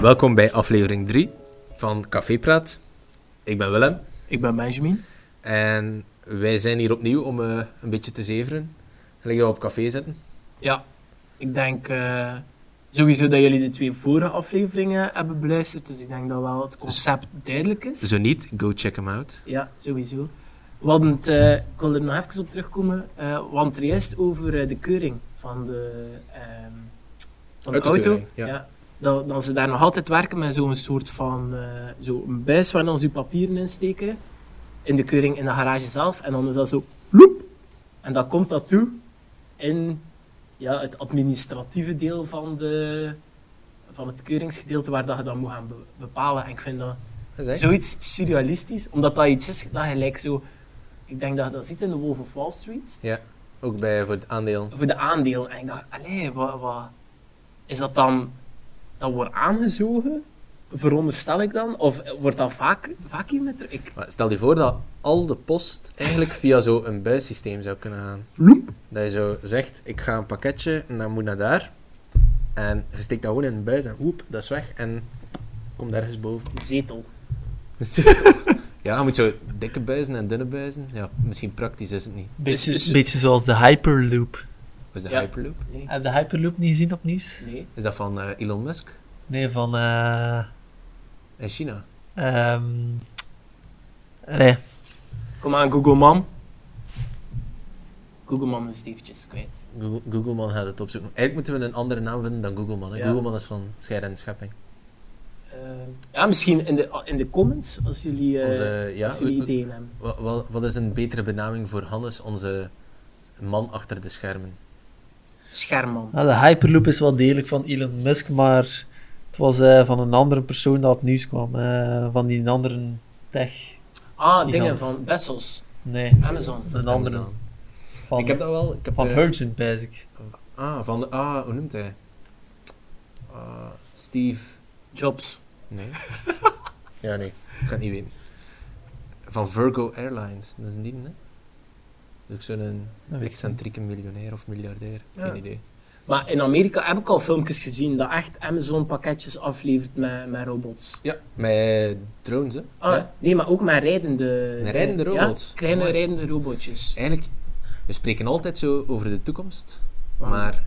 Welkom bij aflevering 3 van Café Praat. Ik ben Willem Ik ben Benjamin. en wij zijn hier opnieuw om eh, een beetje te zeveren. Gelijk dat we op café zitten. Ja, ik denk eh, sowieso dat jullie de twee vorige afleveringen hebben beluisterd. Dus ik denk dat wel het concept duidelijk is. Zo niet, go check hem out. Ja, sowieso. We hadden het, eh, ik wil er nog even op terugkomen, eh want er eerst over eh, de keuring van de, ehm, van de auto. Autokeuring, ja. Dat, dat ze daar nog altijd werken met zo'n soort van eh zo'n buis waar dan ze je papieren in steken. In de keuring in de garage zelf. En dan is dat zo vloep. En dan komt dat toe in ja, het administratieve deel van, de, van het keuringsgedeelte waar dat je dan moet gaan be- bepalen. En ik vind dat Dat is echt. Zoiets surrealistisch, omdat dat iets is dat je lijkt zo... Ik denk dat je dat ziet in The Wolf of Wall Street, Ja, ook bij voor het aandeel. voor de aandeel. En ik dacht, allee, wat, wat... Is dat dan... Dat wordt aangezogen, veronderstel ik dan? Of wordt dat vaak, vaak hier met... Ik, Maar stel je voor dat al de post eigenlijk via zo'n buissysteem zou kunnen gaan. vloep. Dat je zo zegt, ik ga een pakketje en dat moet naar daar. En je steekt dat gewoon in een buis en hoep, dat is weg en komt ergens boven. Een zetel. ja, je moet zo dikke buizen en dunne buizen. Ja, misschien praktisch is het niet. Beetje- Beetje, beetje zoals de Hyperloop. Wat is de Ja. Hyperloop? dus, Nee. Heb je de Hyperloop niet gezien op nieuws? Nee. Is dat van eh, Elon Musk Nee, van... eh in China? ehm nee. Kom aan, Google Man. Google Man is het eventjes kwijt. Google, Googleman gaat het opzoeken. Eigenlijk moeten we een andere naam vinden dan Googleman. hè. Ja. Googleman is van scheiden en schepping. Eh, ja, misschien in de, in de comments, als jullie, eh, Onze, ja, als jullie hoe- ideeën hebben. Wa- wa- wat is een betere benaming voor Hannes, onze man achter de schermen? Schermman. Nou, de Hyperloop is wel degelijk van Elon Musk, maar het was eh, van een andere persoon dat op nieuws kwam. eh, van die andere tech. Ah, dingen Gigant. van Bessels. Nee, Amazon. dat is een andere. Amazon. Van, Ik heb dat wel. Ik heb, van eh, Virgin, pijs ik. ah, van de, ah, hoe noemt hij? Ah, Steve. Jobs. Nee. ja, nee. Ik ga het niet weten. Van Virgo Airlines. Dat is niet, hè? Dus ik zo'n Dat weet ik excentrieke miljonair of miljardair. Ja. Geen idee. Maar in Amerika heb ik al filmpjes gezien dat echt Amazon pakketjes aflevert met, met robots. Ja, met drones, hè? Ah, Ja. nee, maar ook met rijdende... Met rijdende ja, robots. kleine Mooi. rijdende robotjes. Dus Eigenlijk, we spreken altijd zo over de toekomst, Wauw. maar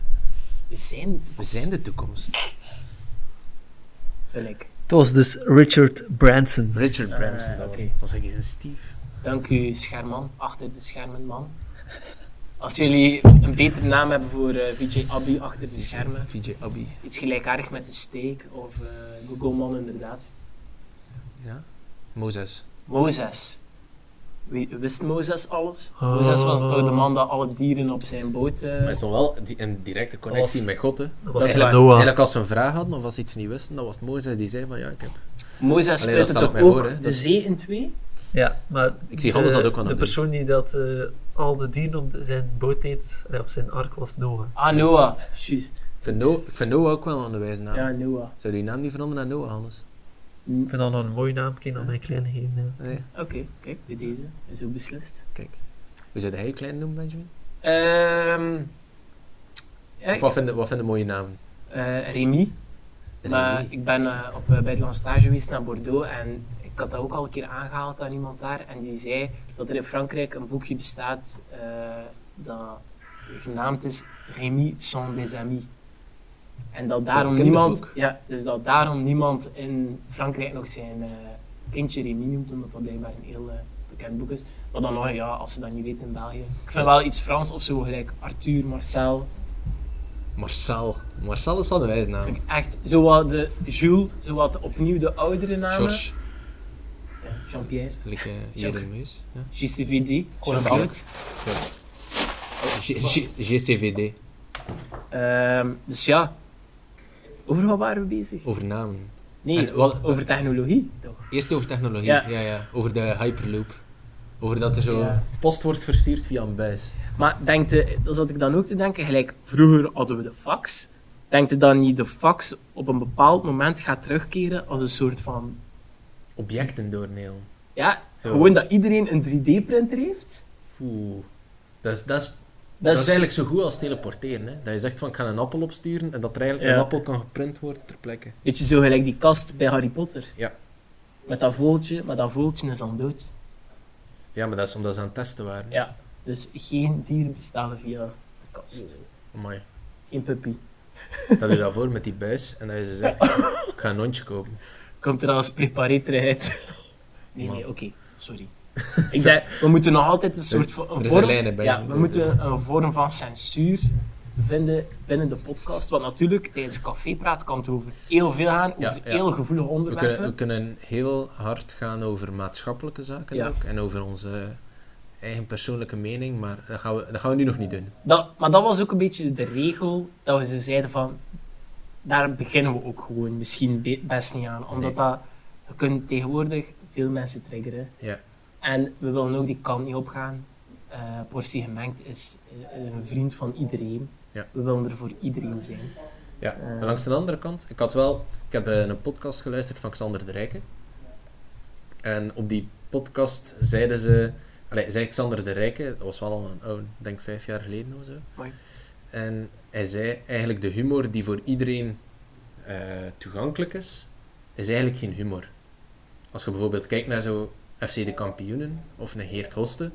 We zijn, we zijn de toekomst. vind ik. Het was dus Richard Branson. Richard Branson, Eh, dat was, oké. was ik een Steve. Dank u, schermman. Achter de schermen, man. Als jullie een betere naam hebben voor eh, VJ Abby achter de schermen. VJ Abby. Iets gelijkaardig met de steak of eh Google Man inderdaad. Ja? Mozes. Mozes. Wie- Wist Mozes alles? Mozes was toch de man dat alle dieren op zijn boot... eh, Maar is dan wel di- een directe connectie was- met God, hè? Dat Dat was is waar. Noah. Eigenlijk als ze een vraag hadden of als ze iets niet wisten, dan was het Mozes die zei van ja, ik heb... Mozes Allee, dat splitte staat ook toch mij ook voor, hè. de Dat is- zee in twee? Ja, maar Ik zie Hannes de- dat ook aan De het persoon die dat eh, al de dieren op de- zijn boot deed, eh, op zijn ark was Noah. Ah, Noah. Juist. Ik vind, Noah, ik vind Noah ook wel een wijsnaam. Ja, Noah. Mm, Zou je je naam niet veranderen naar Noah, Hannes? Ik vind dat nog een mooie naam, ik kan dat mijn kleine geven. ja. Nee, Oké, kijk, bij deze. Is ook beslist. Oh kijk. Hoe zou jij je klein noemen, Benjamin? Ehm ja, Of wat vind je wat vind je een mooie naam? eh, Remy. Maar Remy. ik ben eh, op eh, buitenlands stage geweest naar Bordeaux en ik had dat ook al een keer aangehaald aan iemand daar. En die zei dat er in Frankrijk een boekje bestaat eh, dat genaamd is Rémi sans des amis. En dat daarom niemand, kinderboek. ja, dus dat daarom niemand in Frankrijk nog zijn eh, kindje Rémi noemt, omdat dat blijkbaar een heel eh, bekend boek is. Maar dan nog, ja, als ze dat niet weten in België. Ik vind wel iets Frans of zo, gelijk Arthur, Marcel. Marcel. Marcel is wel een wijsnaam. Vind ik echt, zowat de Jules, zowat opnieuw de oudere namen. George. Ja, Jean-Pierre, Like, eh, hier Jacques. in Meus. Ja. JCVD, Jean-Pierre. Jean-Pierre. G- G- GCVD. Ehm dus ja, over wat waren we bezig? Over namen. Nee, en wat- over technologie toch? Eerst over technologie. Ja. Ja. Ja, Over de Hyperloop. Over dat er zo Ja. post wordt verstuurd via een buis. Maar denk je, dat zat ik dan ook te denken, gelijk vroeger hadden we de fax. Denk je dan niet de fax op een bepaald moment gaat terugkeren als een soort van... Objecten doormailen. Ja, Zo. gewoon dat iedereen een 3D-printer heeft? Oeh. Dat is, dat is Dat is eigenlijk zo goed als teleporteren. Hè? Dat je zegt van ik ga een appel opsturen en dat er eigenlijk Ja. een appel kan geprint worden ter plekke. Weet je, zo gelijk die kast bij Harry Potter. Ja. Met dat voeltje, maar dat voeltje is dan dood. Ja, maar dat is omdat ze aan het testen waren. Ja. Dus geen dieren bestellen via de kast. Amai. Geen puppy. Stel je dat voor met die buis en dat je zo zegt ik ga een hondje kopen. Komt er als preparé uit. Nee, Man. nee, oké. Sorry. Ik denk, we moeten nog altijd een soort van- er een is vorm... een lijn bij, ja, dus we dat is- moeten een vorm van censuur vinden binnen de podcast. Want natuurlijk, tijdens cafépraat kan het over heel veel gaan. Over Ja, ja. heel gevoelige We onderwerpen. kunnen, we kunnen heel hard gaan over maatschappelijke zaken Ja. ook. En over onze eigen persoonlijke mening. Maar dat gaan we, dat gaan we nu nog niet doen. Dat, maar dat was ook een beetje de regel, dat we zo zeiden van, daar beginnen we ook gewoon misschien be- best niet aan. Omdat dat, we kunnen tegenwoordig veel mensen triggeren. Ja. En we willen ook die kant niet opgaan. Eh Portie Gemengd is eh, een vriend van iedereen. Ja. We willen er voor iedereen zijn. Ja, maar langs de andere kant, ik had wel, ik heb eh, een podcast geluisterd van Xander de Rijken. En op die podcast zeiden ze, allee, zei Xander de Rijken, dat was wel al een oude, ik denk vijf jaar geleden of zo. Amai. En hij zei eigenlijk de humor die voor iedereen eh, toegankelijk is, is eigenlijk geen humor. Als je bijvoorbeeld kijkt naar zo FC de Kampioenen of een Geert Hoste,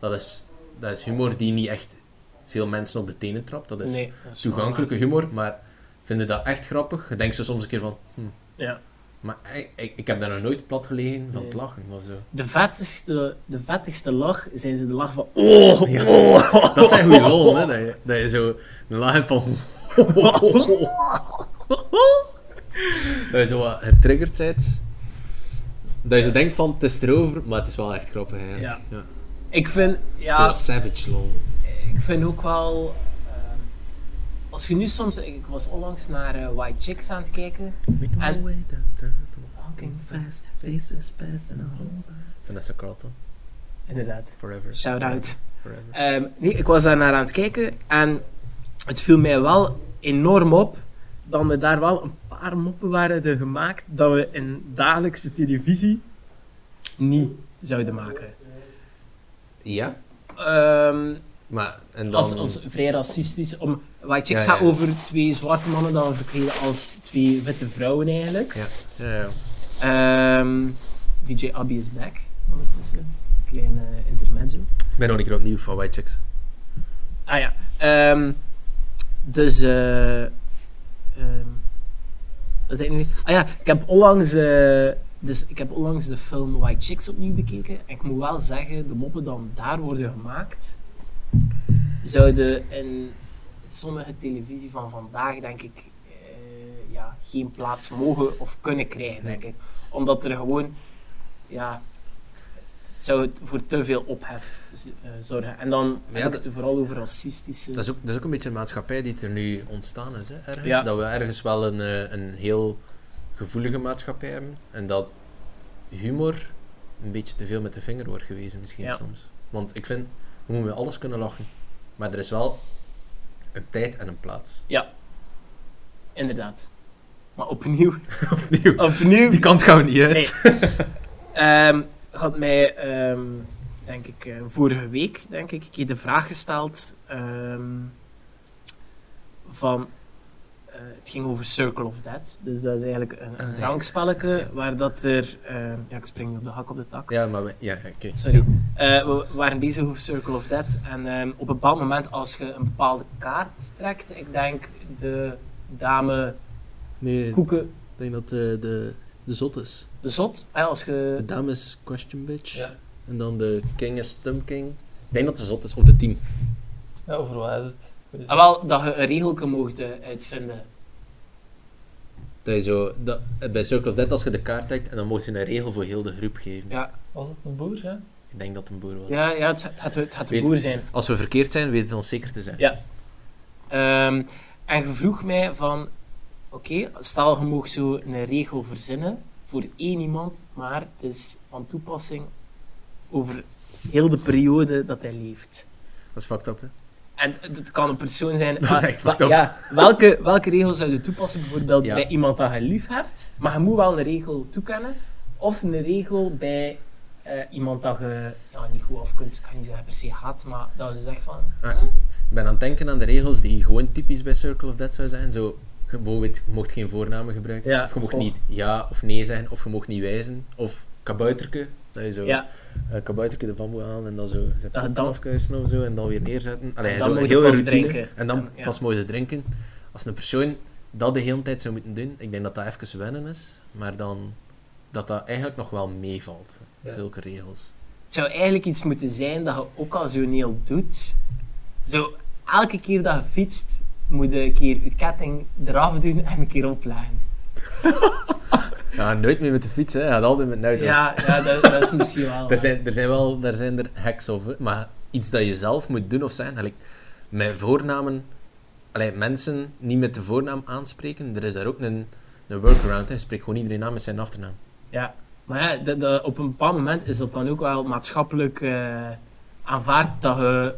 dat is, dat is humor die niet echt veel mensen op de tenen trapt. Dat is dat is toegankelijke humor, maar vinden dat echt grappig. Je denkt zo soms een keer van, hm, wel waar. Ja. maar ik, ik, ik heb daar nog nooit plat gelegen van Nee. het lachen of zo. De, vettigste, de vettigste lach zijn zo de lach van... Oh, oh. Dat zijn goede lol, hè? Dat je, dat je zo een lach hebt van. dat je zo wat getriggerd bent. Dat je zo denkt van, het is erover, maar het is wel echt grappig eigenlijk. Ja. Ik vind... Zo Ja, wat savage lol. ik vind ook wel. ehm, als je nu soms. Ik ik was onlangs naar eh, White Chicks aan het kijken. En- Walking fast, faces personal. Vanessa Carlton, Inderdaad. forever. Shout out. forever. Ehm, nee, ik was daar naar aan het kijken en het viel mij wel enorm op dat er daar wel een paar moppen waren de gemaakt dat we in dagelijkse televisie niet zouden maken. Ja, Ehm, maar en dan. als, als vrij racistisch. Om, White Chicks Ja, ja. gaat over twee zwarte mannen dat we verkleden als twee witte vrouwen eigenlijk. Ja, ja, ja. Ehm VJ Abby is back ondertussen. Klein eh, intermezzo. Ik ben nog een keer opnieuw van White Chicks. Ah ja. ehm, dus. eh ehm, wat zei ik nu? Ah ja, ik heb onlangs. eh, dus ik heb onlangs de film White Chicks opnieuw bekeken. En ik moet wel zeggen, de moppen die daar worden gemaakt, zouden in sommige televisie van vandaag, denk ik, eh, ja, geen plaats mogen of kunnen krijgen, denk ik. Omdat er gewoon, ja, het zou het voor te veel ophef z- eh, zorgen. En dan Ja, heb ik dat- het vooral over racistische... Dat is, ook, dat is ook een beetje een maatschappij die er nu ontstaan is. Hè, ergens. Ja. Dat we ergens wel een, eh, een heel gevoelige maatschappij hebben. En dat humor een beetje te veel met de vinger wordt gewezen misschien Ja. soms. Want ik vind, we moeten met alles kunnen lachen. Maar er is wel een tijd en een plaats. Inderdaad. Maar opnieuw, Opnieuw. opnieuw Die kant gaan we niet uit. Nee. Ehm, had mij, ehm, denk ik, eh, vorige week, denk ik, een keer de vraag gesteld ehm, van... eh, het ging over Circle of Death. Dus dat is eigenlijk een, Ah, een ja. drankspelletje Ja. waar dat er... ehm, ja, ik spring nu op de hak op de tak. Ja, maar we, ja, ja, oké. Sorry. Eh, we waren bezig over Circle of Death. En ehm, op een bepaald moment, als je een bepaalde kaart trekt, ik denk de dame Nee, ik Koeken denk dat de, de, de zot is. de Zot, hè, als je... De dame is question bitch. Ja. En dan de king is stum king. Ik denk dat de zot is. Of de team. Ja, over wat is het? Ik weet het Ah, wel, dat je een regelke mocht eh, uitvinden. Dat je zo, dat, bij Circle of Death, als je de kaart trekt, en dan mocht je een regel voor heel de groep geven. Ja. niet. Was het een boer, ja? Ik denk dat het een boer was. Ja, ja het, het gaat, het gaat de Weet- boer zijn. Als we verkeerd zijn, weet het ons zeker te zijn. Ja. Ehm, en je vroeg mij van... Oké, stel je mag zo een regel verzinnen voor één iemand, maar het is van toepassing over heel de periode dat hij leeft. Dat is fucked up, hè? En dat kan een persoon zijn... Dat ah, is echt wa- fucked up. Ja, welke, welke regel zou je toepassen bijvoorbeeld Ja. bij iemand dat je lief hebt, maar je moet wel een regel toekennen? Of een regel bij eh, iemand dat je ja, niet goed af kunt, ik ga niet zeggen per se haat, maar dat je zegt van, Ah, ik ben aan het denken aan de regels die gewoon typisch bij Circle of Death zou zijn. Zo, je bijvoorbeeld, je mocht geen voornamen gebruiken. Ja, of je mocht goh. niet ja of nee zeggen. Of je mocht niet wijzen. Of kabouterke. Dat je zo Ja. eh, kabouterke ervan moet halen en dan zo zijn Dat je poppen dan- afkuisen of zo. En dan weer neerzetten. Allee, En zo dan een mogen hele pas routine. drinken. En dan En- ja. pas mogen ze drinken. Als een persoon dat de hele tijd zou moeten doen, ik denk dat dat even wennen is. Maar dan dat dat eigenlijk nog wel meevalt. Ja. Zulke regels. het zou eigenlijk iets moeten zijn dat je ook als zoneel doet. Zo, elke keer dat je fietst, moet je een keer je ketting eraf doen en een keer opleggen. Ja, nooit meer met de fiets, hè. Hij gaat altijd met een auto. Ja, ja dat, dat is misschien wel. Er zijn, er zijn wel daar zijn er hacks over, maar iets dat je zelf moet doen of zijn. Allee, met voornamen, allee, mensen niet met de voornaam aanspreken, er is daar ook een, een workaround. Hè. Spreek gewoon iedereen aan met zijn achternaam. Ja, maar ja, dat- dat- op een bepaald moment is dat dan ook wel maatschappelijk eh, aanvaard dat je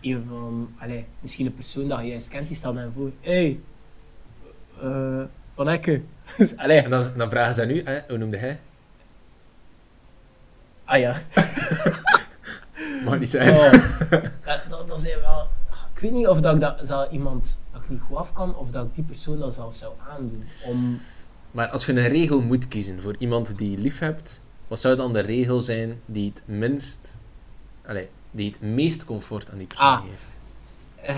een van, allee, misschien een persoon dat je juist kent, die stelt dan voor, hey, eh, Van Hekke. allee, En dan, dan vragen ze aan u, hè, hoe noemde hij? ah ja. Mag niet zijn. Oh, dat, dat, dat zijn wel... Ik weet niet of dat ik dat, zou iemand dat ik niet goed af kan, of dat ik die persoon dat zelf zou aandoen. Om, Maar als je een regel moet kiezen voor iemand die je lief hebt, wat zou dan de regel zijn die het minst, allee, die het meest comfort aan die persoon Ah. geeft?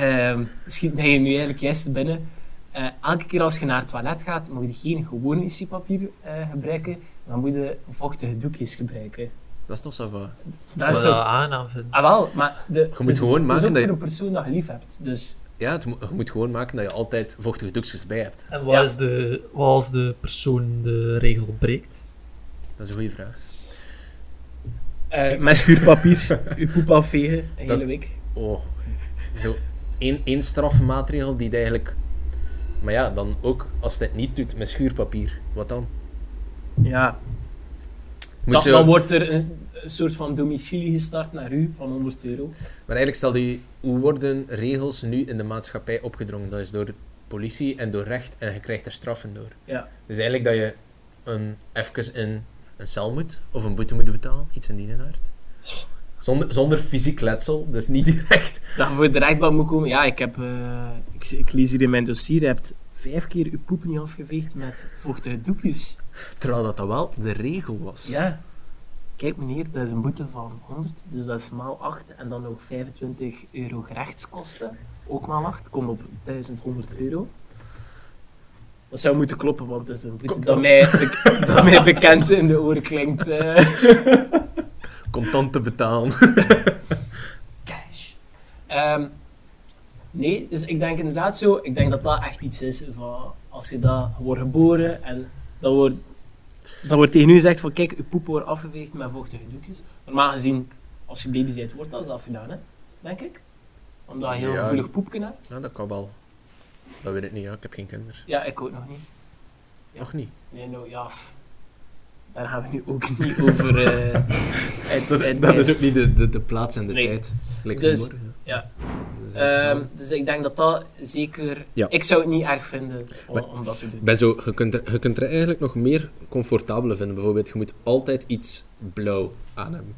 ehm schiet mij hier nu eigenlijk juist te binnen. Eh, elke keer als je naar het toilet gaat, moet je geen gewoon wc-papier eh, gebruiken, maar moet je vochtige doekjes gebruiken. Dat is toch zo van. Dat is zou dat toch... aangenaam vinden. Ah wel, maar de, je moet gewoon het is maken ook dat voor je- een persoon dat je lief hebt. Dus Ja, het mo- je moet gewoon maken dat je altijd vochtige doekjes bij hebt. En wat, Ja. is de, wat als de persoon de regel breekt? Dat is een goede vraag. eh, met schuurpapier, je poep afvegen, een hele Dat- week. Oh, zo één, één strafmaatregel die het eigenlijk... Maar ja, dan ook als hij het niet doet met schuurpapier. Wat dan? Ja, Moet dan, zo- dan wordt er een, een soort van domicilie gestart naar u van 100 euro. Maar eigenlijk stel je, hoe worden regels nu in de maatschappij opgedrongen? Dat is door de politie en door recht en je krijgt er straffen door. Ja. Dus eigenlijk dat je een, even in een cel moet of een boete moet betalen, iets in die aard. Zonder, zonder fysiek letsel, dus niet direct. Dat je voor de rechtbank moet komen. Ja, ik heb... eh, ik, ik lees hier in mijn dossier, je hebt vijf keer uw poep niet afgeveegd met vochtige doekjes. Terwijl dat, dat wel de regel was. Ja. Kijk meneer, dat is een boete van 100, dus dat is maal 8 en dan nog 25 euro gerechtskosten. Ook maal 8, kom op 1100 euro. Dat zou moeten kloppen, want het is een boete Klopt dat wel. mij, be- dat mij bekend in de oren klinkt. eh. Contant te betalen. cash. Ehm, nee, dus ik denk inderdaad zo, ik denk dat dat echt iets is van als je dat je wordt geboren en dan wordt, dan wordt tegen u gezegd van kijk, je poep wordt afgeveegd met vochtige doekjes. Normaal gezien, als je baby bent, wordt dat afgedaan, hè? denk ik. Omdat je heel Ja. gevoelig poepken hebt. Ja, Nou, dat kan wel. Dat weet ik niet, ja. ik heb geen kinderen. Ja, ik ook nog niet. Ja. Nog niet. Nee, nou ja, pff. daar gaan we nu ook niet over. eh, uit- uit- ook niet de, de, de plaats en Nee. tijd. Dus, humor, ja. Dat is echt Ehm, zo. dus ik denk dat dat zeker. Ja. Ik zou het niet erg vinden om, Maar- om dat te doen. Ik ben zo, je, kunt er, je kunt er eigenlijk nog meer comfortabele vinden. Bijvoorbeeld, je moet altijd iets blauw aan hebben.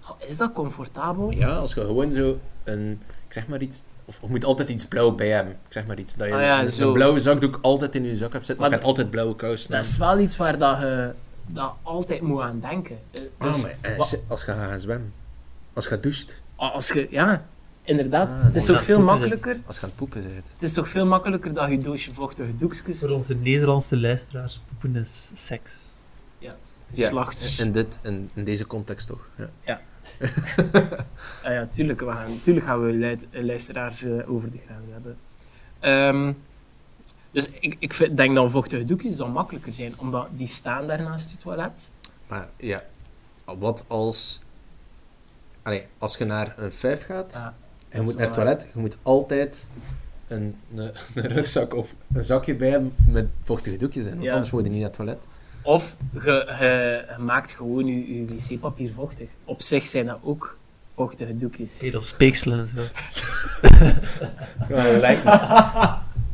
Goh, Is dat comfortabel? Ja, als je gewoon zo een, ik zeg maar iets, of je moet altijd iets blauw bij hebben. Ik zeg maar iets, dat je Ah ja, een, zo. een blauwe zakdoek altijd in je zak hebt zitten. Maar Maar je hebt altijd blauwe kousen Dat is aan. wel iets waar dat je dat altijd moet aan denken. Eh, Ah, Dus, maar, eh, wa- shit, als je gaat gaan zwemmen, als je gaat doucht, a- als je, ja, inderdaad. Ah, het is nee. toch Ja, veel poepen zit. makkelijker. als je aan het poepen bent. Het is toch veel makkelijker dat je doosje vochtige doekjes, Voor onze Nederlandse luisteraars, poepen is seks. geslachts... In, dit, in, in deze context toch. Ja. Ah ja, tuurlijk, we gaan, tuurlijk gaan we leid- eh, luisteraars eh, over de grens hebben. Ehm, dus ik, ik vind, denk dat vochtige doekjes dan makkelijker zijn, omdat die staan daar naast je toilet. Maar ja, wat als... Allee, als je naar een vijf gaat, Ja, en je dat moet is naar het wel waar. toilet, je moet altijd een, een, een rugzak of een zakje bij hebben met vochtige doekjes in, want Ja. anders moet je niet naar het toilet. Of je, je- je maakt gewoon je, je wc-papier vochtig. Op zich zijn dat ook vochtige doekjes. Zeer als speekselen en zo.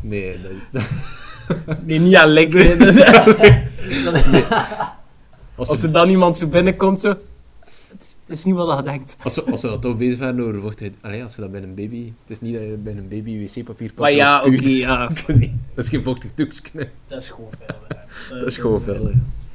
Nee, dat, Nee, niet aan lekker. Als Als ze, er dan iemand zo binnenkomt, zo... Het is, het is niet wat je denkt. als, ze, als ze dat toch bezig waren over vochtigheid... Allee, als ze dat bij een baby... Het is niet dat je bij een baby wc-papier pakt Maar en ja, oké, spuugt. ja. Dat is geen vochtig doekje. hè. Dat is gewoon veel. hè. Dat is gewoon veel. hè.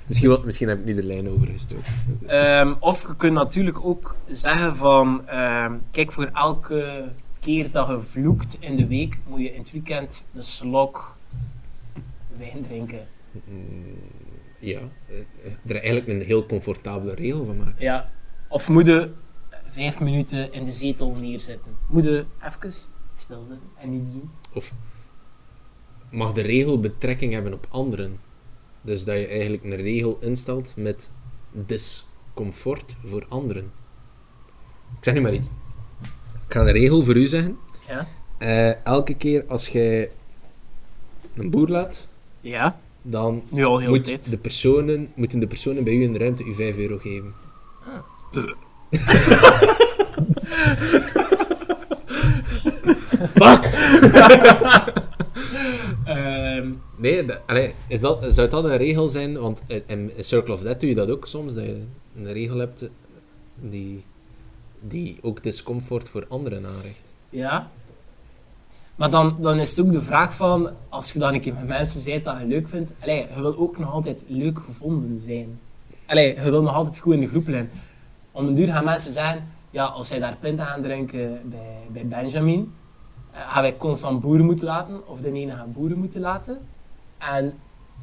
Misschien, wel- misschien heb ik nu de lijn overgestoken. Ehm, of je kunt natuurlijk ook zeggen van... ehm, kijk, voor elke keer dat je vloekt in de week, moet je in het weekend een slok wijn drinken. Mm, Ja. eh, eh, Er eigenlijk een heel comfortabele regel van maken. Ja. Of moet je vijf minuten in de zetel neerzitten. Moet je even stil zijn en niets doen. Of mag de regel betrekking hebben op anderen? Dus dat je eigenlijk een regel instelt met discomfort voor anderen. Ik zeg nu maar iets. Ik ga een regel voor u zeggen. Ja. Eh, elke keer als jij een boer laat, Ja, dan nu al heel moet tijd. de personen, moeten de personen bij u in de ruimte u 5 euro geven. Ah. Fuck! Ehm, Nee, dat- allee, is dat, zou dat een regel zijn? Want in- in Circle of Death doe je dat ook soms, dat je een regel hebt die, die ook discomfort voor anderen aanricht. ja. Maar dan, dan is het ook de vraag van, als je dan een keer met mensen bent dat je leuk vindt, allee, je wil ook nog altijd leuk gevonden zijn. Allee, je wil nog altijd goed in de groep liggen. Om een duur gaan mensen zeggen, ja, als zij daar pinten gaan drinken bij, bij Benjamin, eh, gaan wij constant boeren moeten laten, of de ene gaan boeren moeten laten. En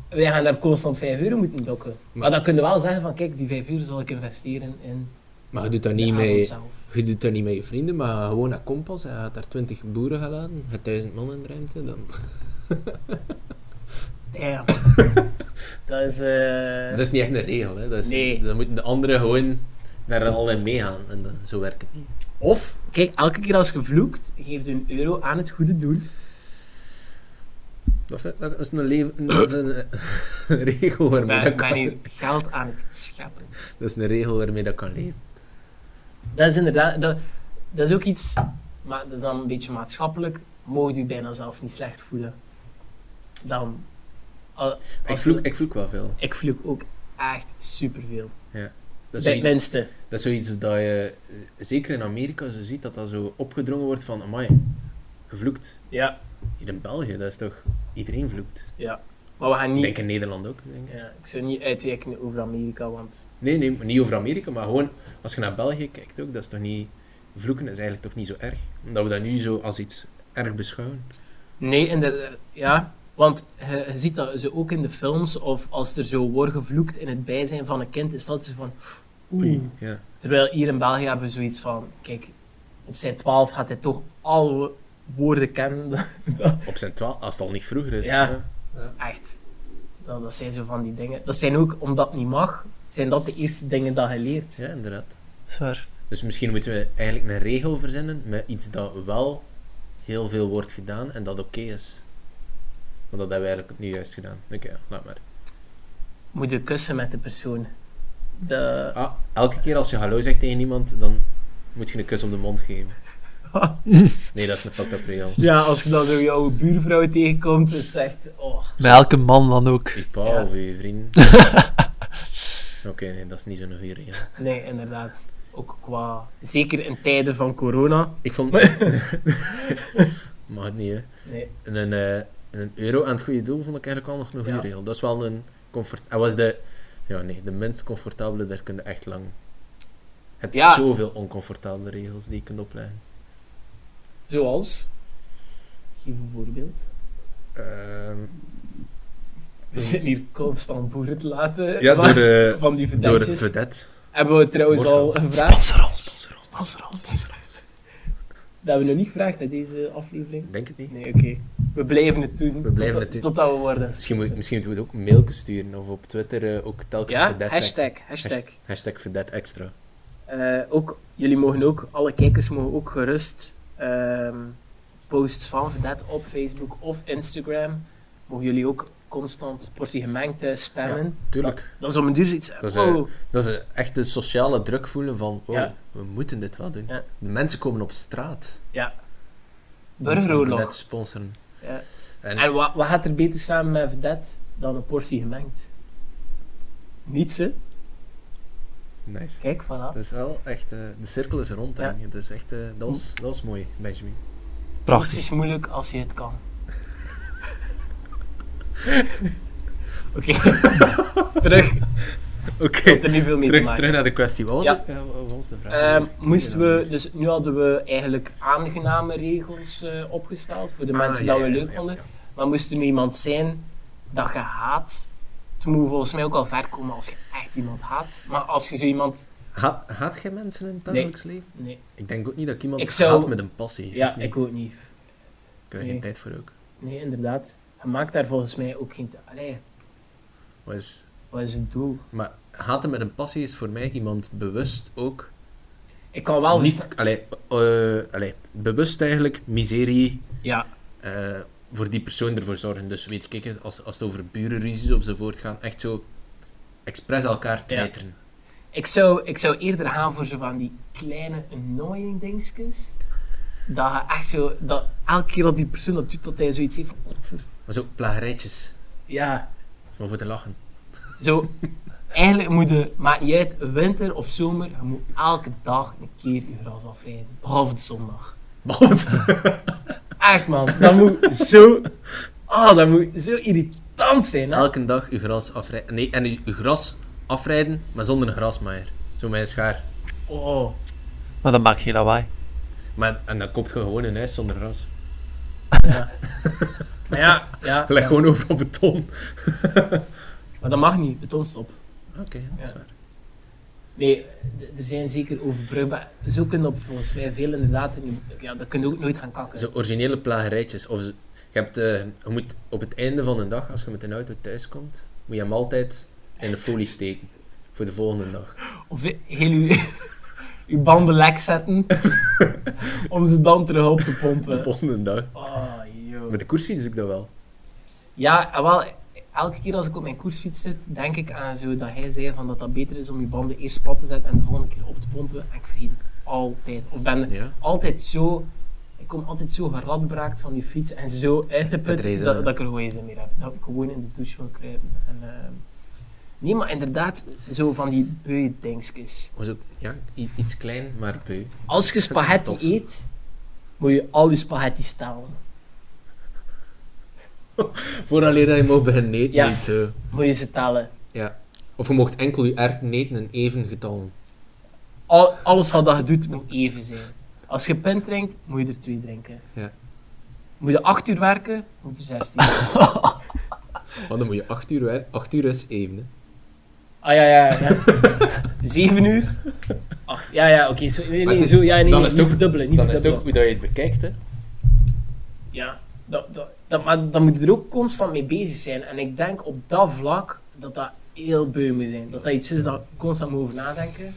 wij gaan daar constant 5 euro moeten dokken. Maar dan kun je wel zeggen van, kijk, die 5 euro zal ik investeren in Maar je doet dat de niet avond mee. zelf. Je doet dat niet met je vrienden, maar ga gewoon naar Kompas en je gaat daar 20 boeren gaan laten, je hebt 1000 man in de ruimte, dan... Damn. dat is... Dat eh is niet echt een regel, hè. Dat is, Nee. Dan moeten de anderen gewoon daar al in meegaan. En dan, zo werkt het niet. Of, kijk, elke keer als je vloekt, geef je een euro aan het goede doel. Dat is, dat is een, leven, dat is een eh, regel Ik waarmee dat ben, ben hier kan... geld aan het scheppen. Dat is een regel waarmee dat kan leven. Dat is inderdaad... Dat, dat is ook iets... Maar dat is dan een beetje maatschappelijk. Mocht u bijna zelf niet slecht voelen. Dan... al- Ik als vloek, je- ik vloek wel veel. ik vloek ook echt superveel. Dat is Bij zoiets, mensen. dat is zoiets dat je, eh, zeker in Amerika, zo ziet dat dat zo opgedrongen wordt van, amai, gevloekt. Ja, Hier in België, dat is toch... Iedereen vloekt. ja. Maar we gaan Ik niet... denk in Nederland ook. Denk. ik. Ja, ik zou niet uitwijken over Amerika, want... Nee, nee, maar niet over Amerika, maar gewoon als je naar België kijkt ook, dat is toch niet... Vloeken is eigenlijk toch niet zo erg? Omdat we dat nu zo als iets erg beschouwen. Nee, inderdaad. Ja, want je, je ziet dat ze ook in de films, of als er zo wordt gevloekt in het bijzijn van een kind, is dat ze van... Oei. Ja. Terwijl hier in België hebben we zoiets van... Kijk, op zijn twaalf gaat hij toch alle woorden kennen. Op zijn twaalf, als het al niet vroeger is. Ja. Echt. Dat, dat zijn zo van die dingen. Dat zijn ook, omdat het niet mag, zijn dat de eerste dingen dat je leert. Ja, inderdaad. is waar. Dus misschien moeten we eigenlijk een regel verzinnen met iets dat wel heel veel wordt gedaan en dat oké is. Want dat hebben we eigenlijk nu juist gedaan. Oké, ja, laat maar. Moet je kussen met de persoon. De... Ah, elke keer als je hallo zegt tegen iemand, dan moet je een kus op de mond geven. Nee, dat is een fucked up regel. Ja, als je dan zo jouw buurvrouw tegenkomt, is het echt... Oh. Met elke man dan ook. Ik pa Ja. of je vriend. Oké, nee, dat is niet zo'n goede regel. Nee, inderdaad. Ook qua... Zeker in tijden van corona. Ik vond... Mag het niet, hè. Nee. En een, eh, een euro aan het goede doel vond ik eigenlijk al nog een goede Ja. regel. Dat is wel een comfort... Hij was de... Ja, nee, de minst comfortabele, daar kun je echt lang... Het Ja. zoveel oncomfortabele regels die je kunt opleggen. Zoals? Geef een voorbeeld. Ehm, We zitten hier constant boeren te laten. ja, maar- door, eh Van die door verdetjes. Vedette. Hebben we trouwens Wordt al dat. gevraagd. ons. Sponsor ons. Dat hebben we nog niet gevraagd in deze aflevering. Ik Denk het niet. Nee, oké. We blijven het doen. We blijven tot- het doen. Totdat we worden. Misschien, moet, misschien moeten we het ook mailtjes sturen of op Twitter eh, ook telkens Ja, Vedette. hashtag. hashtag. Hashtag Vedette extra. Eh, ook, jullie mogen ook, alle kijkers mogen ook gerust ehm, posts van Vedette op Facebook of Instagram. Mogen jullie ook constant portie gemengd eh, spammen. Tuurlijk. Dat is om een duur zoiets. oh, Dat is, eh, wow. Dat is echt de sociale druk voelen van, wow, Ja. we moeten dit wel doen. Ja. De mensen komen op straat. Burgeroorlog. Dat sponsoren. Ja. En, En wat, wat gaat er beter samen met Vedette dan een portie gemengd? Niets, hè? Nice. Kijk, voilà. Dat is wel echt... eh, de cirkel is rond, Ja. hè. Dat is echt... eh, dat, was, dat was mooi, Benjamin. Niets Prachtig. is moeilijk als je het kan. Oké. Terug. Oké. Ik heb er niet veel mee te Terug, maken. terug naar de kwestie. Wat was, Ja. het? Eh, wat was de vraag? Ehm, Hier? moesten Hier we, dan. dus nu hadden we eigenlijk aangename regels eh, opgesteld voor de Ah, mensen ja, dat we ja, leuk ja, vonden. ja. Maar moest er nu iemand zijn dat je haat, toen moet je volgens mij ook al ver komen als je echt iemand haat. Maar als je zo iemand. Ha- haat jij mensen in het Nee. dagelijks leven? Nee, Ik denk ook niet dat ik iemand Ik zou- haat met een passie. ja, Echt niet. ik ook niet. Ik heb er nee. geen tijd voor ook. Nee, inderdaad. Je maakt daar volgens mij ook geen. Allee, Wat is... wat is het doel? Maar haten met een passie is voor mij iemand bewust ook Ik kan wel. dus- niet... Allee, eh, allee, bewust eigenlijk miserie Ja, eh, voor die persoon ervoor zorgen. Dus weet ik, het, als, als het over burenruzies of zo voortgaan, echt zo expres elkaar treiteren. Ik zou, ik zou eerder gaan voor zo van die kleine annoying dingetjes. Dat je echt zo, dat elke keer dat die persoon dat doet, dat hij zoiets heeft van, "Godver." Maar zo plagerijtjes, Ja, maar voor te lachen. zo. Eigenlijk moet je, maakt niet uit, winter of zomer, je moet elke dag een keer je gras afrijden. Behalve de zondag. Behalve- Echt man, dat moet zo, ah, dat moet zo irritant zijn. Hè? Elke dag uw gras afrijden. Nee, en uw, uw gras afrijden, maar zonder een grasmaaier. Zo met een schaar. Oh, Maar dan maak je geen lawaai. Maar, en dan koopt je gewoon een huis zonder gras. maar ja, ja, Leg gewoon overal beton. maar dat mag niet, betonstop. Oké, dat is Ja. waar. Nee, d- er zijn zeker overbrugbaar. Zo kunnen op volgens mij veel inderdaad. in je- Ja, dat kun je ook nooit gaan kakken. Zo originele plagerijtjes. Of, ze- je, hebt, eh, je moet op het einde van de dag, als je met een auto thuis komt, moet je hem altijd in de folie steken. Voor de volgende dag. Of he- heel je, je banden lek zetten. om ze dan terug op te De pompen. volgende dag. Oh, joh. Met de koersfiets doe ik dat wel. Ja, en wel, elke keer als ik op mijn koersfiets zit, denk ik aan zo dat hij zei van dat dat beter is om je banden eerst plat te zetten en de volgende keer op te pompen. En ik vergeet het altijd. Of ben Ja. altijd zo... Ik kom altijd zo geradbraakt van die fiets en zo uitgeput Het reizen, dat, hè. dat ik er gewoon zin meer heb. Dat ik gewoon in de douche wil kruipen. En, ehm, nee, maar inderdaad, zo van die bui-dingetjes. Maar Zo, ja, i- iets klein, maar beu. Als je spaghetti Tof. eet, moet je al je spaghetti stalen. Vooraleer dat je mag beginnen eten. Ja. Niet, zo. Moet je ze tellen. ja. Of je mocht enkel je erwten eten in even getallen. Al, alles wat dat je doet, moet even zijn. Als je pint drinkt, moet je er twee drinken. Ja. Moet je acht uur werken, moet je 16. ah Want dan moet je 8 uur werken. 8 uur is even. Hè. Ah, ja, ja, ja. Zeven uur? Acht. Ja, ja, oké. Zo, nee, Maar nee, het is- zo, ja, nee, dan nee, is het niet ook- verdubbelen. Niet Dan is het ook verdubbelen. hoe dat je het bekijkt. Hè. Ja, dat, dat, dat, maar dan moet je er ook constant mee bezig zijn. En ik denk op dat vlak dat dat heel beu moet zijn. Dat dat iets is dat je constant moet over nadenken.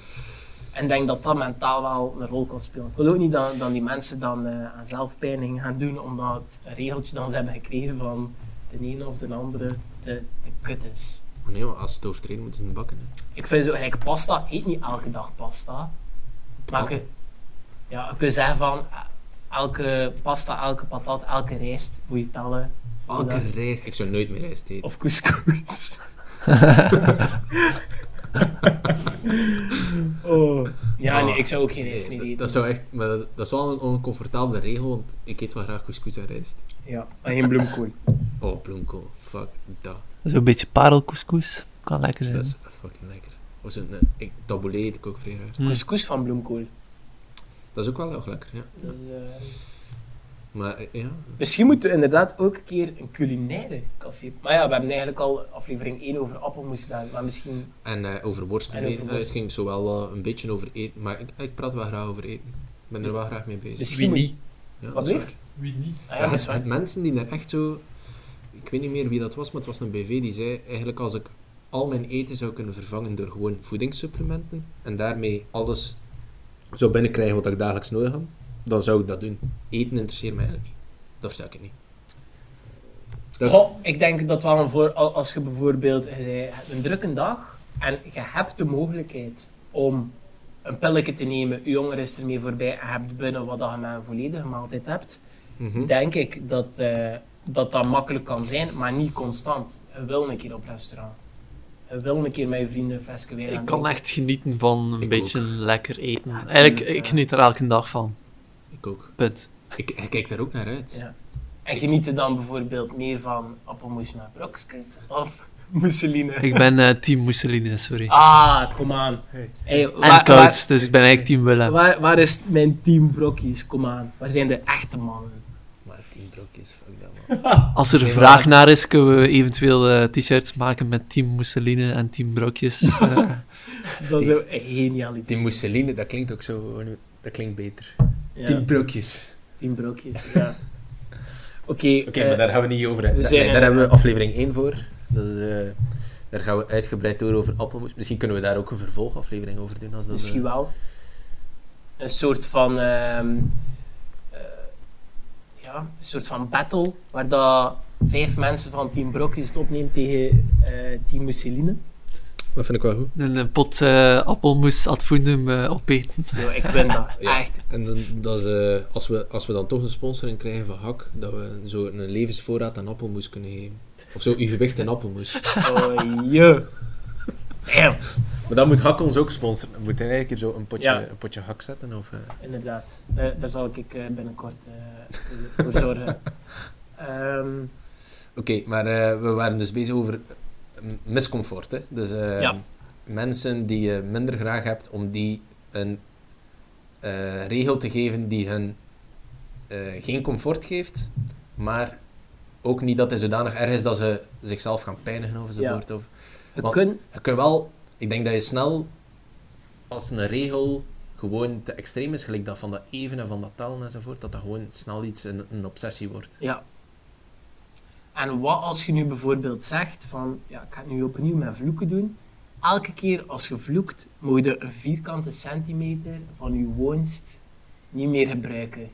En ik denk dat dat mentaal wel een rol kan spelen. Ik wil ook niet dat, dat die mensen dan eh, aan zelfpijning gaan doen omdat het een regeltje dat ze hebben gekregen van de ene of de andere te, te kut is. Oh nee, maar als ze het overtreden, moeten ze het bakken. Hè. Ik vind zo gelijk pasta, eet niet elke dag pasta. Maar je, ja, je kunt zeggen van eh, elke pasta, elke patat, elke rijst moet je tellen. Elke reis. Ik zou nooit meer rijst eten. Oh, Of couscous. oh. Ja, Ah, nee, ik zou ook geen Nee, ijs meer dat- eten. dat, zou echt, maar dat, dat is wel een oncomfortabele regel, want ik eet wel graag couscous en rijst. Ja, en geen bloemkool. Oh, bloemkool. Fuck dat. Zo'n beetje parelcouscous. Kan lekker zijn. Dat is fucking lekker. Of zo'n eh, ik- taboulé eet ik ook vrij graag. Couscous van bloemkool. Dat is ook wel heel lekker, ja. Dus, eh, Maar eh, ja, misschien moeten we inderdaad ook een keer een culinaire café... Maar ja, we hebben eigenlijk al aflevering 1 over appelmoes gedaan. Maar misschien... En eh, over worst. En nee, over eh, worst. Het ging zowel wel een beetje over eten, maar ik, ik praat wel graag over eten. Ik ben er wel graag mee bezig. misschien Wie niet? Ja, Wat dat is lief? waar. Wie niet? Ah, ja, Ja, dat is het, waar. het mensen die daar echt zo... Ik weet niet meer wie dat was, maar het was een BV die zei... Eigenlijk als ik al mijn eten zou kunnen vervangen door gewoon voedingssupplementen... en daarmee alles zou binnenkrijgen wat ik dagelijks nodig heb... dan zou ik dat doen. Eten interesseert mij eigenlijk niet. Dat versta ik niet. Dat- Goh, ik denk dat wel een voor, al- als je bijvoorbeeld je zei, je hebt een drukke dag en je hebt de mogelijkheid om een pilletje te nemen, je honger is ermee voorbij en je hebt binnen wat dat je met een volledige maaltijd hebt, Mhm. Hm. denk ik dat, eh, dat dat makkelijk kan zijn, maar niet constant. Je wil een keer op restaurant. eh, wil een keer met je vrienden een flesje wijn gaan Ik kan drinken. echt genieten van een Ik beetje lekker eten. Ja, het Eigenlijk, zijn, eh, ik geniet er elke dag van. Ik ook. Punt. Ik, ik kijk daar ook naar uit. Ja. En geniet er dan bijvoorbeeld meer van appelmoes met brokjes of mousseline. Ik ben eh, team Mousseline, sorry. Ah, kom aan. Hey. Hey, en waar, koud, waar, dus ik ben eigenlijk team Willem. waar, waar is mijn team brokjes? Kom aan. Waar zijn de echte mannen? Maar tien brokjes, fuck dat man. Als er Nee, maar- vraag naar is, kunnen we eventueel eh, t-shirts maken met team Mousseline en team Brokjes. eh. Dat is een genialiteit. Die mousseline, dat klinkt ook zo, gewoon- dat klinkt beter. Ja, Tien brokjes. team brokjes, ja. Oké, Oké, eh, maar daar gaan we niet over. we Da- zijn- nee, daar hebben we aflevering 1 voor. Dat is, eh, daar gaan we uitgebreid door over appelmoes. Misschien kunnen we daar ook een vervolgaflevering over doen. Als dat, misschien eh, wel. Een soort van... ehm, eh, ja, een soort van battle, waar dat vijf mensen van team brokjes het opneemt tegen eh, team mousseline. Dat vind ik wel goed. een, een pot eh, appelmoes ad fundum eh, opeten. Yo, ik win dat. Ja. Echt. En dan, dat is, eh, als, we, als we dan toch een sponsoring krijgen van Hak, dat we zo een levensvoorraad aan appelmoes kunnen geven. Of zo, uw gewicht in appelmoes. Oh, je. Damn. maar dan moet Hak ons ook sponsoren. We moeten eigenlijk hier zo een potje, Ja. een potje Hak zetten. Of, eh, Inderdaad, daar, daar zal ik eh, binnenkort eh, voor- voor zorgen. Ehm, Oké, maar eh, we waren dus bezig over eh, m- miscomfort. Hè? Dus eh, Ja. mensen die je minder graag hebt, om die een eh, regel te geven die hun eh, geen comfort geeft, maar ook niet dat hij zodanig erg is dat ze zichzelf gaan pijnigen enzovoort. Of, we Want- kunnen, je kunt wel, ik denk dat je snel als een regel gewoon te extreem is, gelijk dat van dat even en van dat talen enzovoort, dat dat gewoon snel iets een, een obsessie wordt. ja. En wat als je nu bijvoorbeeld zegt van, ja, ik ga het nu opnieuw met vloeken doen. Elke keer als je vloekt, moet je een vierkante centimeter van je woonst niet meer gebruiken.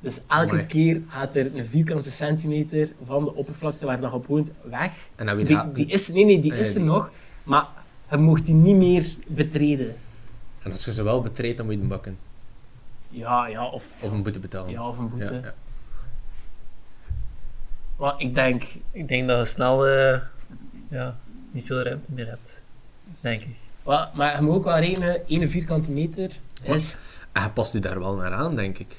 Dus elke Amai. keer gaat er een vierkante centimeter van de oppervlakte waar je nog op woont weg. En dan weet Die, je- die is, nee, nee, die Eh, is er die- nog, maar je mocht die niet meer betreden. En als je ze wel betreedt, dan moet je hem bakken. Ja, ja, of, Of een boete betalen. ja, of een Ja, boete. ja. Maar ik denk, Ik denk dat je snel eh, ja, niet veel ruimte meer hebt. Denk ik. wel, maar je moet ook wel rekenen, 1 vierkante meter is... En je past u daar wel naar aan, denk ik.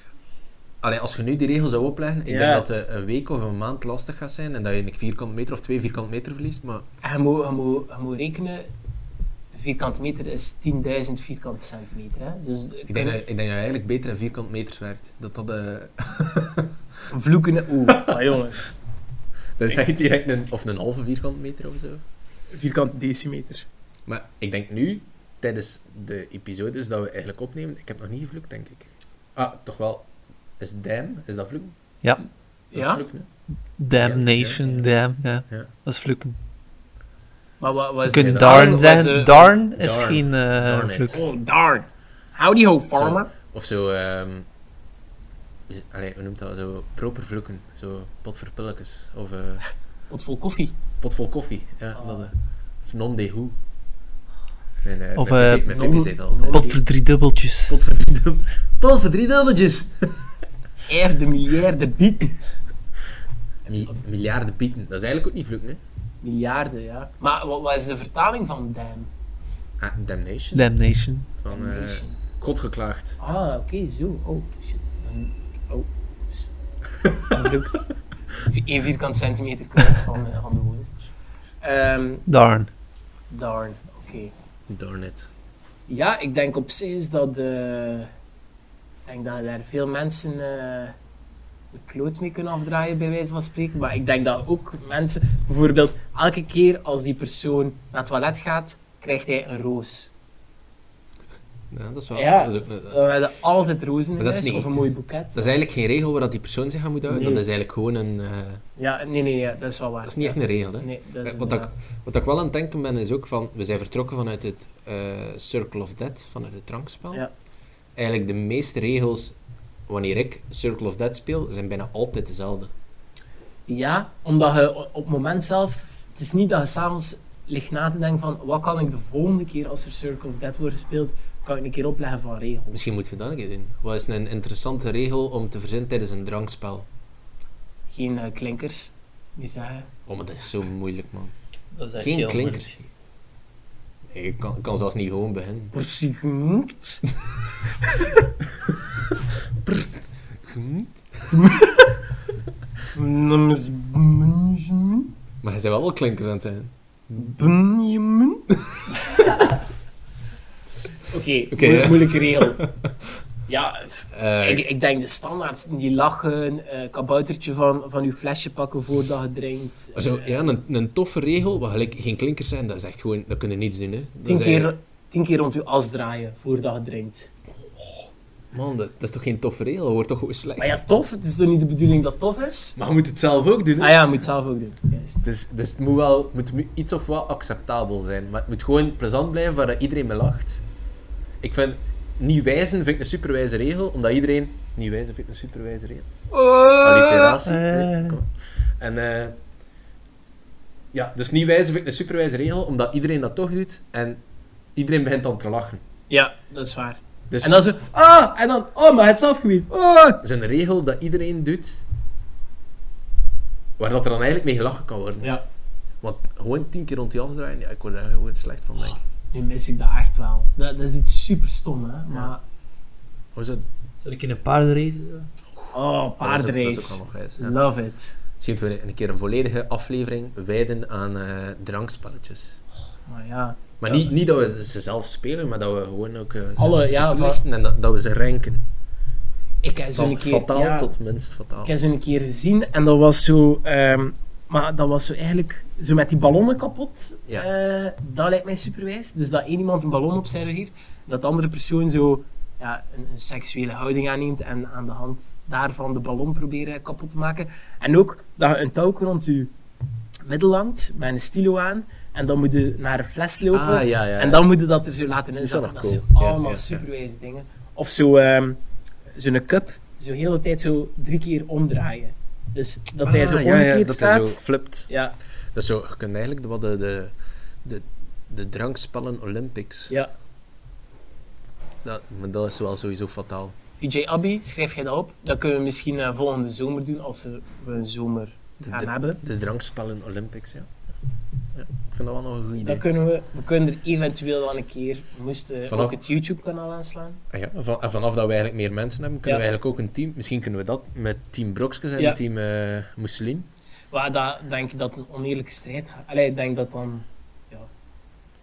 Allee, als je nu die regel zou opleggen, ik Ja. denk dat het een week of een maand lastig gaat zijn en dat je een vierkant meter of twee vierkant meter verliest, maar En je moet, je moet, je moet rekenen, een vierkante meter is 10.000 vierkante centimeter. Hè? Dus ik denk, dat, ik denk dat je eigenlijk beter in vierkant meters werkt. Dat, dat, eh, vloeken... Oeh, maar jongens. dat is eigenlijk direct een, of een halve vierkant meter of zo. Vierkante decimeter. Maar ik denk nu, tijdens de episodes dat we eigenlijk opnemen, ik heb nog niet gevloekt, denk ik. Ah, toch wel. Is damn, is dat vloeken? Dat is Ja? vloeken, hè? Damnation, Ja, damn. Ja. Ja. Dat is vloeken. Maar wat was... Je kunt het? darn was, zeggen. eh, Darn is Darn. geen eh Darn it. vloek. Oh, darn. Howdy ho, farmer. Of zo, ehm is- allee, hoe noemt dat? Zo proper vloeken. Zo pot voor pilletjes. Of eh, Pot vol koffie. pot vol koffie. Ja, Ah. dat, eh. of non de hoe. Mijn, eh, Of, mijn, eh, pipi- mijn non- pipi zei het altijd. Pot voor drie dubbeltjes. Pot voor drie dubbel- Pot voor drie dubbeltjes! Air de miljarden bieten. Mi- miljarden pieten. Dat is eigenlijk ook niet vloeken, hè? Miljarden, ja. Maar wat, wat is de vertaling van damn? Ah, damnation. Damnation. Van eh, Damnation. God geklaagd. Ah, oké, zo. Oh, shit. Een- Oh, oeps. Gebruikt. 1 vierkant centimeter kwijt van, eh, van de woest. Ehm, Darn. darn, oké. Darn it. Ja, ik denk op zich is dat... eh, ik denk dat daar veel mensen eh, de kloot mee kunnen afdraaien, bij wijze van spreken. Maar ik denk dat ook mensen... Bijvoorbeeld, elke keer als die persoon naar het toilet gaat, krijgt hij een roos. Ja, dat is wel... Ja. Dat, is ook, een- dat Dan hebben we altijd rozen in Maar dat is huis, niet- of een mooi boeket. is eigenlijk geen regel waar dat die persoon zich aan moet houden. Nee. Dat is eigenlijk gewoon een... eh, Ja, nee, nee, ja, dat is wel waar. dat is niet echt een regel, hè? Nee, dat is Eh, want dat- inderdaad- Wat ik wel aan het denken ben, is ook van... We zijn vertrokken vanuit het eh, Circle of Death, vanuit het drankspel. Ja. Eigenlijk de meeste regels, wanneer ik Circle of Death speel, zijn bijna altijd dezelfde. Ja, omdat je o- op het moment zelf... Het is niet dat je s'avonds ligt na te denken van... Wat kan ik de volgende keer als er Circle of Death wordt gespeeld... Kan ik een keer opleggen van regels. Misschien moeten we dat een keer doen. Wat is een interessante regel om te verzinnen tijdens een drankspel? Geen eh, klinkers meer zeggen. Oh, maar dat is zo moeilijk, man. Dat is echt Geen heel klinker. moeilijk. Nee, ik kan, ik kan zelfs niet gewoon beginnen. Persignkt. Namens Benjamin. Maar hij zijn wel wel klinkers aan het zijn. Benjamin. Oké, Oké, moe- ja. moeilijke regel. Ja, f- Eh, ik, ik denk de standaard, die lachen, eh kaboutertje van, van uw flesje pakken voordat je drinkt. zo, ja, een, een toffe regel, maar gelijk geen klinkers zijn, dat is echt gewoon, dat kunnen niets doen. Hè. Dat Tien is eigenlijk- keer, tien keer rond uw as draaien voordat je drinkt. Man, dat, dat is toch geen toffe regel, dat wordt toch gewoon slecht. Maar ja, tof, het is toch niet de bedoeling dat het tof is? Maar je moet het zelf ook doen. Ah ja, je moet het zelf ook doen. Juist. Dus, dus het moet wel het moet mu- iets of wat acceptabel zijn. Maar het moet gewoon plezant blijven waar dat iedereen mee lacht. Ik vind niet wijzen vind ik een superwijze regel, omdat iedereen. Niet wijzen vind ik een superwijze regel. Alliteratie. Nee, Eh. kom. En eh, ja, dus niet wijzen vind ik een superwijze regel, omdat iedereen dat toch doet en iedereen begint dan te lachen. Ja, dat is waar. Dus En dan zo, ah, en dan, oh, maar het is afgewezen. Ah. dat is een regel dat iedereen doet, waar dat er dan eigenlijk mee gelachen kan worden. Ja, Want gewoon tien keer rond die as draaien, ja, ik word daar gewoon slecht van, denk ik. nu mis ik dat echt wel. Dat, dat is iets super stom, hè. Maar, Hoe is dat? Zal ik in een paardenrace? zo? Dat is ook- dat oh, is ook paardenrace. wel nog eens, ja. Love it. Misschien dat we een keer een volledige aflevering wijden aan eh, drankspelletjes. Maar ja, Maar niet, niet dat we ze zelf spelen, maar dat we gewoon ook eh, ze- Alle- ze ja, toelichten en dat, dat we ze ranken. ik heb zo'n Van keer... fataal ja, tot minst fataal. Ik heb zo'n keer gezien en dat was zo... ehm, maar dat was zo eigenlijk zo met die ballonnen kapot. Ja. Eh, dat lijkt mij superwijs. Dus dat één iemand een ballon op zijn rug heeft, dat de andere persoon zo ja, een, een seksuele houding aanneemt en aan de hand daarvan de ballon proberen kapot te maken. En ook dat je een touw rond je middel hangt met een stilo aan en dan moet je naar een fles lopen. Ah, ja, ja, ja. Eh, En dan moet je dat er zo laten inzakken. nog Dat cool. zijn Ja, allemaal ja, ja. superwijze dingen. Of zo, ehm, zo'n cup, zo heel de hele tijd zo drie keer omdraaien. Dus dat hij zo Ah, omgekeerd dat staat. hij zo flipt. Ja, Dat is zo, je kunt eigenlijk de, wat de, de, de, de drankspellen Olympics. ja. Dat, maar dat is wel sowieso fataal. VJ Abby, schrijf jij dat op? Dat kunnen we misschien eh, volgende zomer doen, als er- we een zomer De, gaan de, hebben. de drankspellen Olympics, ja. ja. Ik vind dat wel nog een goed idee. Dan kunnen we, we kunnen er eventueel wel een keer, we moesten Vanaf- ook het YouTube-kanaal aanslaan. Ah Ja, van- en vanaf dat we eigenlijk meer mensen hebben, kunnen Ja. we eigenlijk ook een team... Misschien kunnen we dat met team Brokskes en Ja. team eh Mousseline. Waar dat, denk ik dat een oneerlijke strijd gaat. Allee, ik denk dat dan, ja,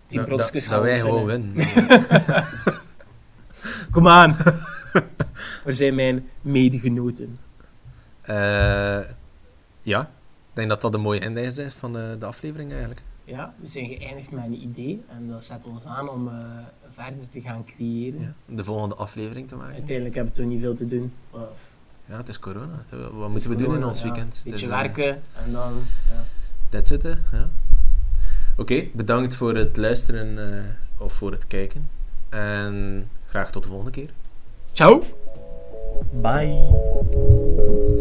die Dat- dat, brokjes dat gaan wij ons winnen. gewoon winnen. Kom aan. Waar zijn mijn medegenoten? Eh, ja, ik denk dat dat een mooie index is van eh, de aflevering eigenlijk. Ja, we zijn geëindigd met een idee en dat zet ons aan om eh, verder te gaan creëren. Ja. De volgende aflevering te maken. Uiteindelijk hebben we toch niet veel te doen. Maar Ja, het is corona. Wat het moeten we is doen in corona, ons ja. weekend? Het Beetje is, eh, werken en dan... Ja. That's it, hè. Ja. Oké, bedankt voor het luisteren eh, of voor het kijken. En graag tot de volgende keer. Ciao! Bye.